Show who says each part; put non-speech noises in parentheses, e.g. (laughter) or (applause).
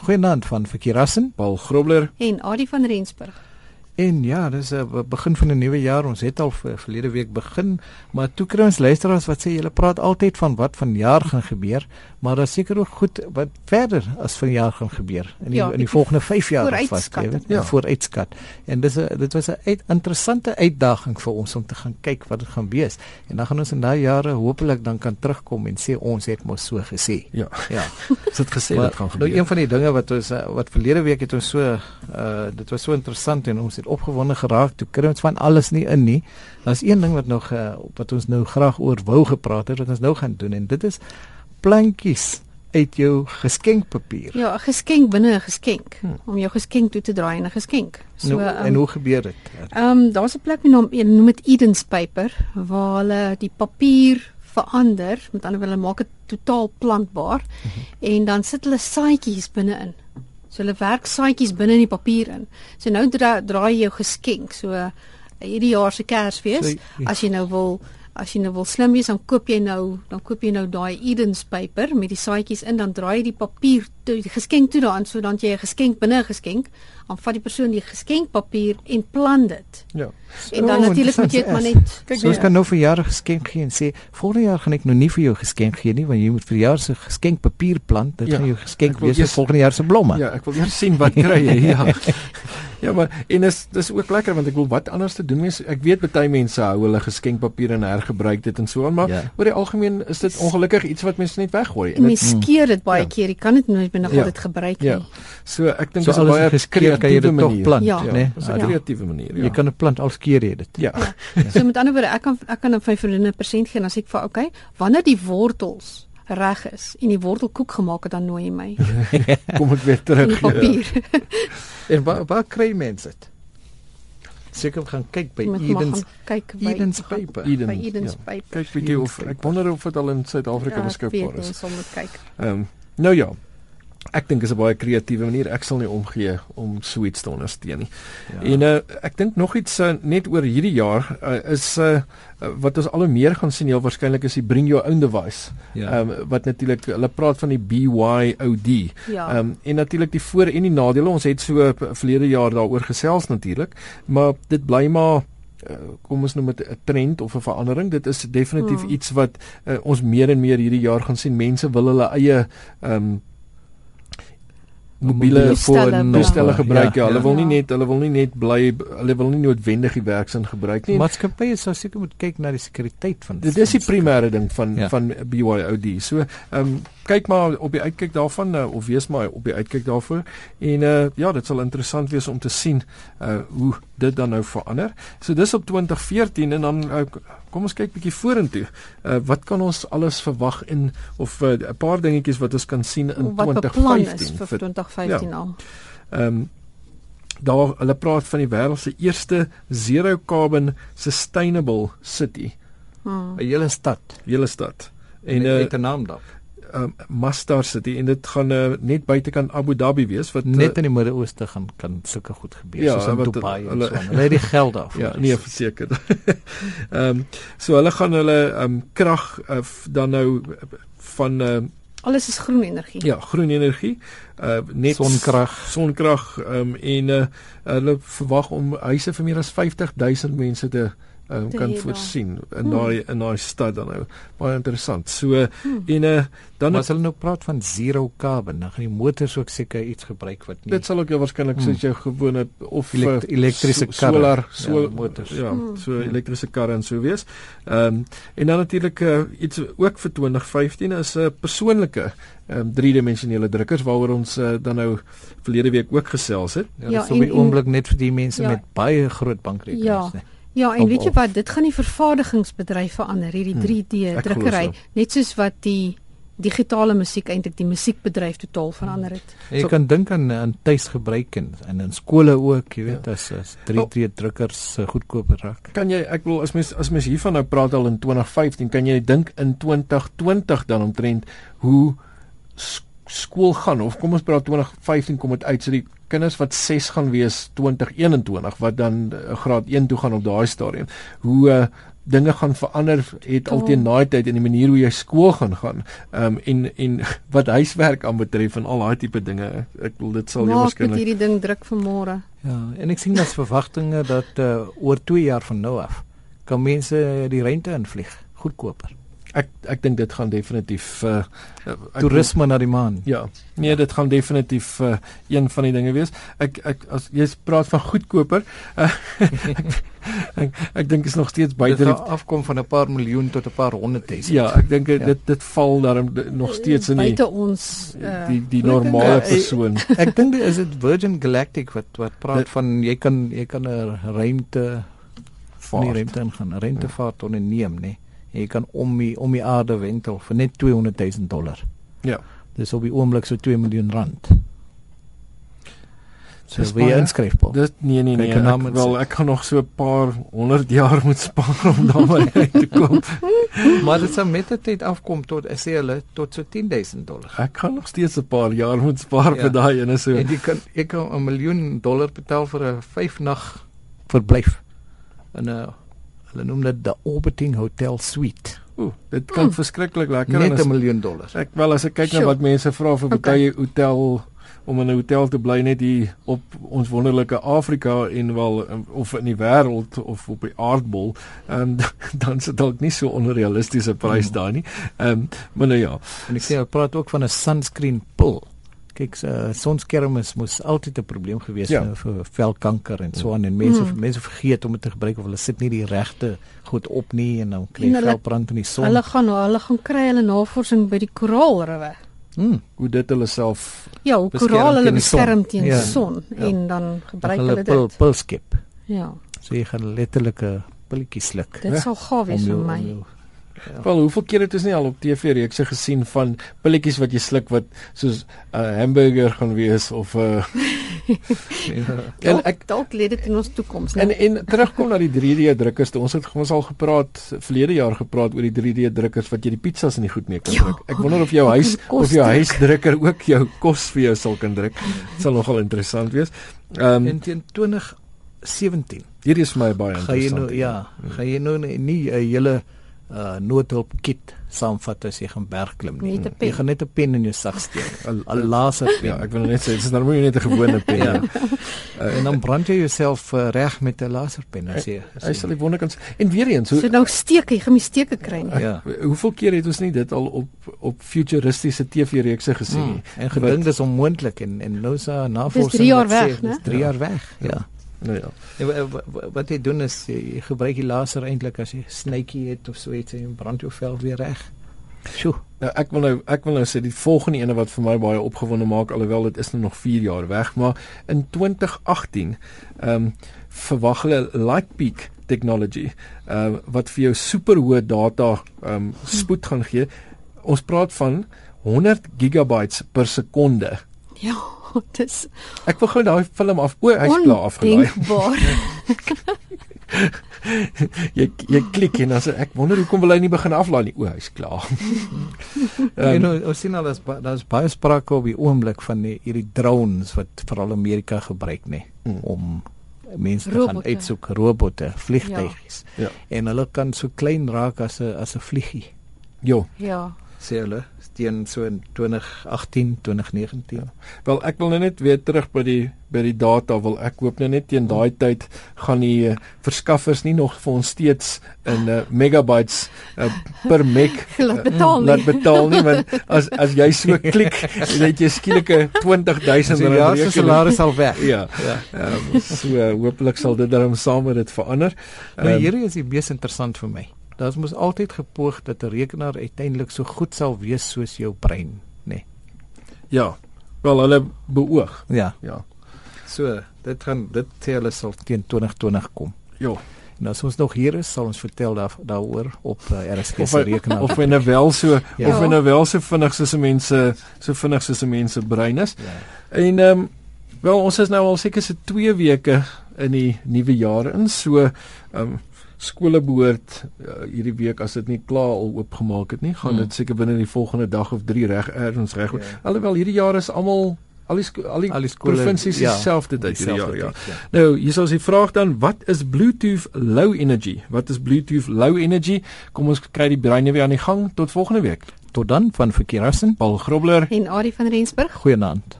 Speaker 1: Goeienaand van Verkerassen
Speaker 2: Paul Grobler.
Speaker 3: en Adi van Rensburg.
Speaker 1: en ja, dis 'n be- begin van 'n nuwe jaar. Ons het al ver- verlede week begin, maar toe kry ons luisteraars wat sê julle praat altyd van wat vanjaar gaan gebeur, maar daar is seker ook goed wat verder as vanjaar gaan gebeur in die,
Speaker 3: Ja,
Speaker 1: in die
Speaker 3: bietjie
Speaker 1: volgende 5 jaar
Speaker 3: vooruitskat.
Speaker 1: ja.
Speaker 2: Ja.
Speaker 1: vooruitskat. En dis 'n dit was 'n uit, interessante uitdaging vir ons om te gaan kyk wat dit gaan wees. En dan gaan ons in daai jare hopelik dan kan terugkom en sê ons het mos so gesê.
Speaker 2: Ja,
Speaker 1: Ja.
Speaker 2: ons het gesê dit gaan gebeur.
Speaker 1: Nou een van die dinge wat ons eh, wat verlede week het ons so uh dit was so interessant en ons het opgewonde geraak toe kry ons van alles nie in nie. Daar's een ding wat nog uh, wat ons nou graag oor wou gepraat het wat ons nou gaan doen en dit is plantjies uit jou geskenkpapier.
Speaker 3: Ja, 'n geskenk binne 'n geskenk
Speaker 2: Hmm.
Speaker 3: om jou geskenk toe te draai in 'n geskenk. So
Speaker 1: Hm. nou, en hoe gebeur dit?
Speaker 3: Ehm um, daar's 'n plek met naam een noem dit Eden's Paper waar hulle die papier verander, met ander woorde hulle maak dit totaal plantbaar
Speaker 1: Mhm.
Speaker 3: en dan sit hulle saadjies binne-in. So hulle werk saadjies binne in die papier in. So nou dra, draai jy jou geskenk. So eh, hierdie jaar se Kersfees,
Speaker 1: So,
Speaker 3: as jy nou wil as jy nou wil slim wees, dan koop jy nou dan koop jy nou daai Eden's Paper met die saadjies in, dan draai jy die papier toe, die geskenk toe daaraan sodat jy 'n geskenk binne 'n geskenk, dan vat die persoon die geskenkpapier en plant dit.
Speaker 2: ja.
Speaker 3: En dan
Speaker 1: Oh,
Speaker 3: natuurlik moet jy dit maar
Speaker 1: interessant,
Speaker 3: net
Speaker 1: Kyk, so ons kan nou vir jare geskenk gee en sê volgende jaar gaan ek nou nie vir jou geskenk gee nie want jy moet vir jaar se geskenkpapier plant. Dit
Speaker 2: Ja,
Speaker 1: ja, gaan jou geskenk
Speaker 2: ek wil
Speaker 1: wees vir
Speaker 2: eers-
Speaker 1: volgende jaar se blomme.
Speaker 2: Ja, ek wil eers sien wat
Speaker 1: (laughs)
Speaker 2: kry jy. Ja. Ja, maar en is dis ook lekker want ek wil wat anders te doen mense. Ek weet baie mense hou hulle geskenkpapier en hergebruik dit en so aan, maar
Speaker 1: Ja.
Speaker 2: ja. oor die algemeen is dit ongelukkig iets wat mense net weggooi.
Speaker 3: en
Speaker 2: En dit,
Speaker 3: mens skeer dit baie
Speaker 2: Ja.
Speaker 3: keer. Jy kan dit nooit binne
Speaker 2: Ja.
Speaker 3: ja. dit gebruik
Speaker 2: ja.
Speaker 3: nie.
Speaker 2: So ek dink
Speaker 1: So
Speaker 2: dis 'n
Speaker 1: alles
Speaker 2: baie
Speaker 1: geskeer kan jy
Speaker 2: kreatiewe
Speaker 1: dit tog
Speaker 2: manier.
Speaker 1: plant,
Speaker 3: Ja.
Speaker 1: ja. né?
Speaker 2: Dis
Speaker 1: Ja,
Speaker 2: 'n
Speaker 3: Ja.
Speaker 2: kreatiewe manier. Ja.
Speaker 1: Jy kan 'n plant al skeer jy dit.
Speaker 2: ja.
Speaker 3: So met ander woorde, ek kan ek kan aan my vriendinne persent gee en dan sê ek vir okay, wanneer die wortels reg is en die wortelkoek gemaak het dan nooi jy my
Speaker 2: (laughs) Kom ek weer
Speaker 3: in die
Speaker 2: terug. Ja.
Speaker 3: papier.
Speaker 1: En waar waar kry mense dit? Seker gaan kyk by
Speaker 3: Jy moet maar
Speaker 1: Edens
Speaker 3: gaan kyk by
Speaker 1: Edens paper.
Speaker 2: Eden.
Speaker 3: by Eden's
Speaker 2: Ja.
Speaker 3: Paper.
Speaker 2: Kyk bietjie of ek wonder of dit al in Suid-Afrika ja, beskikbaar is.
Speaker 3: Ons moet kyk.
Speaker 2: Ehm um, nou ja. Ek dink is 'n baie kreatiewe manier. Ek sal nie omgee om so iets te ondersteun nie. Ja. En uh, ek dink nog iets uh, net oor hierdie jaar uh, is uh, uh, wat ons al hoe meer gaan sien heel waarskynlik is die bring your own device. Ehm
Speaker 1: ja.
Speaker 2: um, wat natuurlik hulle praat van die BYOD. Ehm
Speaker 3: Ja.
Speaker 2: Ehm um, en natuurlik die voor en die nadele. Ons het so eh, p- verlede jaar daaroor gesels natuurlik, maar dit bly maar uh, kom ons noem dit 'n trend of 'n verandering. Dit is definitief
Speaker 3: Hmm.
Speaker 2: hmm. iets wat uh, ons meer en meer hierdie jaar gaan sien. Mense wil hulle eie ehm um, mobiele
Speaker 3: toestelle
Speaker 2: toestelle gebruik. Ja, ja, hulle wil nie
Speaker 3: Ja.
Speaker 2: net hulle wil nie net bly hulle wil nie noodwendig die werksin gebruik nie.
Speaker 1: Maatskappye sou seker moet kyk na die sekuriteit van
Speaker 2: Dit is die primêre ding van
Speaker 1: Ja.
Speaker 2: ja. van BYOD. So, ehm um, kyk maar op die uitkyk daarvan uh, of wees maar op die uitkyk daarvoor en uh, ja, dit sal interessant wees om te sien uh, hoe dit dan nou verander. So dis op 2014 en dan uh, kom ons kyk bietjie vorentoe. Uh, wat kan ons alles verwag in of uh, 'n paar dingetjies wat ons kan sien in
Speaker 3: wat beplan is
Speaker 2: 2015
Speaker 3: vir
Speaker 2: vir
Speaker 3: 2015 ja. al.
Speaker 2: Ehm um, daar hulle praat van die wêreld se eerste zero carbon sustainable city,
Speaker 3: Hmm.
Speaker 1: 'n hele stad
Speaker 2: hele stad.
Speaker 1: en eh,
Speaker 2: En uh,
Speaker 1: met 'n naam daar.
Speaker 2: um, Masdar City en dit gaan uh, net buitekant Abu Dhabi wees wat eh,
Speaker 1: Net in die Midde-Ooste gaan kan sulke goed gebeur ja,
Speaker 2: Ja,
Speaker 1: soos in
Speaker 2: wat-
Speaker 1: Dubai en
Speaker 2: hulle-
Speaker 1: so. aan. Hulle het die geld (laughs)
Speaker 2: uh,
Speaker 1: daarvoor.
Speaker 2: ja nee verseker. (laughs) Ehm um, so hulle gaan hulle ehm um, krag uh, f- dan nou uh, van uh,
Speaker 3: Alles is groen energie.
Speaker 2: ja groen energie uh, net
Speaker 1: Sonkrag.
Speaker 2: sonkrag ehm um, en uh, hulle verwag om huise vir meer as 50000 mense te um,
Speaker 3: Te
Speaker 2: kan
Speaker 3: hê daar.
Speaker 2: voorsien in
Speaker 3: Hmm.
Speaker 2: daai in daai stad dan nou baie interessant. So uh,
Speaker 3: Hmm.
Speaker 2: en uh, dan
Speaker 1: Maar as hulle nou praat van zero carbon, dan gaan die motors ook seker iets gebruik wat nie
Speaker 2: Dit sal ook jou waarskynlik
Speaker 1: Hmm.
Speaker 2: hmm. soos jou gewone of
Speaker 1: Elekt-
Speaker 2: eh,
Speaker 1: elektriese
Speaker 2: so-
Speaker 1: karre.
Speaker 2: solar
Speaker 1: Ja,
Speaker 2: so,
Speaker 1: motors.
Speaker 2: motors. Ja,
Speaker 3: Hmm.
Speaker 2: so elektriese karre en so wees. Ehm um, en dan natuurlik uh, iets ook vir 2015 is 'n uh, persoonlike ehm um, driedimensionele drukkers waaroor ons uh, dan nou verlede week ook gesels het.
Speaker 1: ja,
Speaker 3: Ja,
Speaker 1: dit is op die
Speaker 3: en- en-
Speaker 1: oomblik net vir die mense
Speaker 3: Ja.
Speaker 1: met baie groot bankrekenings,
Speaker 3: Ja.
Speaker 1: né?
Speaker 3: Ja, en
Speaker 1: Om-
Speaker 3: weet jy
Speaker 1: om-
Speaker 3: wat, dit gaan die vervaardigingsbedryf verander, hierdie
Speaker 2: Hmm,
Speaker 3: 3D
Speaker 2: ek glo
Speaker 3: drukkery,
Speaker 2: so.
Speaker 3: net soos wat die digitale musiek eintlik die musiekbedryf totaal
Speaker 2: Hm.
Speaker 3: verander het.
Speaker 1: En Jy
Speaker 2: So-
Speaker 1: kan dink aan aan tuisgebruik en en in skole ook, jy weet, as as 3D drukkers eh, goedkoper raak.
Speaker 2: Kan jy ek wil as mens as mens hiervan nou praat al in 2015, kan jy dink in 2020 dan omtrent hoe sk- skool gaan of kom ons praat 2015 kom dit uit so die kinders wat 6 gaan wees 2021 wat dan eh, graad 1 toe gaan op daai stadium. Hoe uh, dinge gaan verander het al teen daai tyd en die manier hoe jy skool gaan gaan. Ehm um, en en wat huiswerk aanbetref en al daai tipe dinge, ek wil dit sal jy
Speaker 3: Maak met
Speaker 2: waarskynlik
Speaker 3: hierdie ding druk vir môre.
Speaker 1: Ja, en ek sien (laughs) daar's verwagtinge dat uh, oor 2 jaar van nou af kan mense die rente invlieg, goedkoper.
Speaker 2: ek ek dink dit gaan definitief uh, uh, ek-
Speaker 1: Toerisme na die maan.
Speaker 2: Ja, nee, dit gaan definitief uh, een van die dinge wees. Ek ek as jy praat van goedkoper, uh, ek (laughs) ek, ek dink is nog steeds
Speaker 1: Dit
Speaker 2: buite die
Speaker 1: gaan afkom van 'n paar miljoen tot 'n paar honderd duisend.
Speaker 2: Ja, ek dink
Speaker 1: Ja.
Speaker 2: dit dit val daarom d- nog steeds in die
Speaker 3: buite ons uh,
Speaker 2: die die
Speaker 1: maar ek dink,
Speaker 2: normale
Speaker 1: eh,
Speaker 2: persoon. (laughs)
Speaker 1: Ek dink dit is dit Virgin Galactic wat wat praat
Speaker 2: Dit-
Speaker 1: van jy kan jy kan 'n rente van die
Speaker 2: Vaart.
Speaker 1: rente ingaan, 'n rentevaart onderneem, nê. En Jy kan om die om die aarde wentel vir net 200 000 dollar.
Speaker 2: Ja.
Speaker 1: Dis op die oomblik so 2 miljoen rand.
Speaker 2: Dis
Speaker 1: So wie
Speaker 2: baie.
Speaker 1: inskryf Paul.
Speaker 2: Dit nee nee
Speaker 1: Kyk,
Speaker 2: nee.
Speaker 1: en dan
Speaker 2: Ek,
Speaker 1: moet
Speaker 2: wel
Speaker 1: sy-
Speaker 2: ek gaan nog so 'n paar 100 jaar moet spaar om daar maar (laughs) uit te
Speaker 1: (laughs)
Speaker 2: kom.
Speaker 1: Maar dit sal met die tyd afkom tot ek sê hulle tot so 10000 dollar.
Speaker 2: Ek gaan nog steeds 'n paar jaar moet spaar
Speaker 1: Ja.
Speaker 2: vir daai ene so.
Speaker 1: En jy kan ek kan 'n miljoen dollar betaal vir 'n 5 nag verblyf in 'n hulle noem dit the orbiting hotel suite.
Speaker 2: Oeh, dit klink verskriklik lekker en
Speaker 1: Net
Speaker 2: as
Speaker 1: 'n miljoen dollar.
Speaker 2: Ek wel as ek kyk na
Speaker 3: Sjoe.
Speaker 2: wat mense vra vir
Speaker 3: Okay.
Speaker 2: baie hotel om in 'n hotel te bly net hier op ons wonderlike Afrika en wel um, of in die wêreld of op die aardbol, um, (laughs) dan se dalk nie so onrealistiese prys
Speaker 1: Hmm.
Speaker 2: daar nie. Ehm um, maar nou ja,
Speaker 1: En ek sê hulle praat ook van 'n sunscreen pil. Kyk, uh, sonskermes moes altyd 'n probleem gewees
Speaker 2: Ja.
Speaker 1: ja. nou vir velkanker en so aan en mense mm. mense vergeet om dit te gebruik of hulle sit nie die regte goed op nie en dan kry
Speaker 3: En
Speaker 1: jy
Speaker 3: hulle-
Speaker 1: velbrand in die son.
Speaker 3: Hulle gaan hulle gaan kry hulle navorsing by die koraalriwe.
Speaker 1: mm,
Speaker 2: hoe dit hulle self
Speaker 3: Ja, hoe
Speaker 1: Beskerm
Speaker 3: koraal hulle
Speaker 1: teen die son.
Speaker 3: beskerm teen
Speaker 1: Ja.
Speaker 3: die son
Speaker 1: Ja.
Speaker 3: en dan
Speaker 1: dan
Speaker 3: gebruik
Speaker 1: gaan
Speaker 3: hulle
Speaker 1: hulle pil
Speaker 3: dit.
Speaker 1: pil skep.
Speaker 3: Ja,
Speaker 1: So jy gaan letterlik 'n pilletjie sluk.
Speaker 3: dit
Speaker 2: Ja.
Speaker 3: sal gaaf wees vir
Speaker 1: jou-
Speaker 3: my.
Speaker 1: jou-
Speaker 2: Wel, hoeveel keer het ons nie al op TV reekse gesien van pilletjies wat jy sluk wat soos 'n uh, hamburger gaan wees of 'n uh, en
Speaker 1: (laughs) Ja.
Speaker 2: ek
Speaker 3: Dalk ek dalk lê dit in ons toekoms,
Speaker 2: En
Speaker 3: né?
Speaker 2: en terugkom na die 3D drukkers. toe. Ons het ons al gepraat verlede jaar gepraat oor die 3D drukkers wat jy die pizzas in die goed mee kan
Speaker 3: Ja,
Speaker 2: druk. Ek wonder of jou
Speaker 3: ek
Speaker 2: huis
Speaker 3: kan kos
Speaker 2: of jou
Speaker 3: druk.
Speaker 2: huisdrukker ook jou kos vir jou sal kan druk. Dit sal nogal interessant wees.
Speaker 1: En
Speaker 2: Ehm um,
Speaker 1: teen 2017
Speaker 2: hierdie is vir my baie
Speaker 1: gaan jy
Speaker 2: interessant.
Speaker 1: nou ja, gaan jy nou nie- nie 'n hele uh, noodhulp kit saamvat as jy gaan bergklim nie.
Speaker 3: Net 'n
Speaker 1: Jy
Speaker 3: pen.
Speaker 1: gaan net 'n pen in jou sak steek. (laughs)
Speaker 2: Al-
Speaker 1: 'n laser pen.
Speaker 2: Ja, ek wil nou net sê dit is nou nie net 'n gewone pen
Speaker 1: Ja.
Speaker 2: nie.
Speaker 1: en dan brand jy jouself uh, reg met 'n laserpen as jy
Speaker 2: Hy sal die wonder kan sien. En weer eens, hoe
Speaker 3: So nou steek hy, gaan my steke kry. nie.
Speaker 1: (laughs) ja.
Speaker 2: hoeveel keer het ons nie dit al op op futuristiese TV reekse gesien nie.
Speaker 1: Mm, en gedink dis onmoontlik en en nou sa navorsing
Speaker 3: drie jaar
Speaker 1: wat sê,
Speaker 3: weg, né?
Speaker 1: Dis 3 jaar weg. Ja.
Speaker 2: Nou ja.
Speaker 1: En wa- wa- wa- Wat jy doen is jy jy gebruik die laser eintlik as jy snytjie het of so iets en brand jou vel weer reg. Sjoe.
Speaker 2: Nou ek wil nou ek wil nou sê die volgende ene wat vir my baie opgewonde maak alhoewel dit is nou nog 4 jaar weg, maar in 2018 ehm verwag hulle Lightpeak technology ehm wat vir jou superhoë data ehm spoed gaan gee. Ons praat van 100 gigabytes per sekonde.
Speaker 3: Ja, (laughs) dis
Speaker 2: Ek wil gou daai film af. O, hy's klaar afgelaai.
Speaker 1: (laughs)
Speaker 3: ondenkbaar.
Speaker 2: Jy jy klik en dan sê ek wonder hoekom wil hy nie begin aflaai nie. O, hy's klaar. (laughs)
Speaker 1: Um,
Speaker 2: Ehm,
Speaker 1: you know, nou, ons sien al daar's ba- daar's baie sprake op die oomblik van die, hierdie drones wat veral Amerika gebruik nê
Speaker 2: Mm.
Speaker 1: mm. om mense te gaan
Speaker 3: Robotte.
Speaker 1: uitsoek, robotte, vliegtuigies.
Speaker 2: Ja.
Speaker 1: En hulle kan so klein raak as 'n as 'n vliegie.
Speaker 2: Jo.
Speaker 3: Ja.
Speaker 1: sê hulle teen so in 2018, 2019.
Speaker 2: Wel ek wil nou net weer terug by die by die data wil ek hoop nou net teen daai tyd gaan die eh, verskaffers nie nog vir ons steeds in uh, megabytes uh, per meg
Speaker 3: (laughs)
Speaker 2: eh,
Speaker 3: Laat betaal
Speaker 2: laat
Speaker 3: nie.
Speaker 2: betaal nie want as as jy so klik (laughs) dan het jy skielik 'n 20000
Speaker 1: So ja,
Speaker 2: rand
Speaker 1: se
Speaker 2: rekening.
Speaker 1: salaris al weg.
Speaker 2: (laughs) Ja,
Speaker 1: Ja.
Speaker 2: um, so uh, hopelik sal dit dan saam met dit verander.
Speaker 1: Maar
Speaker 2: Ehm,
Speaker 1: Nou, hierdie is die mees interessant vir my. Daar's mos altyd gepoog dat 'n rekenaar uiteindelik so goed sal wees soos jou brein, nê. Nee.
Speaker 2: ja. Wel hulle beoog.
Speaker 1: Ja.
Speaker 2: Ja.
Speaker 1: So, dit gaan dit sê hulle sal teen 2020 kom.
Speaker 2: Ja.
Speaker 1: En as ons nog hier is, sal ons vertel daar daaroor op uh, RSG
Speaker 2: Of
Speaker 1: se
Speaker 2: hy,
Speaker 1: rekenaar.
Speaker 2: of hy nou wel so ja.
Speaker 1: Ja.
Speaker 2: of hy nou wel so vinnig soos 'n mense so vinnig soos 'n mense brein is.
Speaker 1: ja.
Speaker 2: En ehm um, wel ons is nou al seker se 2 weke in die nuwe jaar in. So ehm um, skole behoort uh, hierdie week as dit nie klaar al oopgemaak het nie, gaan
Speaker 1: Hmm.
Speaker 2: dit seker binne die volgende dag of 3 reg erns reg.
Speaker 1: Ja.
Speaker 2: Ja. Alhoewel hierdie jaar is almal al die sko- al die,
Speaker 1: Al die skole-
Speaker 2: provinsies
Speaker 1: ja,
Speaker 2: dieselfde tyd hierdie jaar,
Speaker 1: Dieselfde
Speaker 2: ja.
Speaker 1: tyd, ja.
Speaker 2: Nou, hier is die vraag dan, wat is Bluetooth low energy? Wat is Bluetooth low energy? Kom ons kry die breine weer aan die gang tot volgende week.
Speaker 1: Tot dan van Verkeerassen.
Speaker 2: Paul Grobler
Speaker 3: En Ari van Rensburg
Speaker 1: Goeienaand.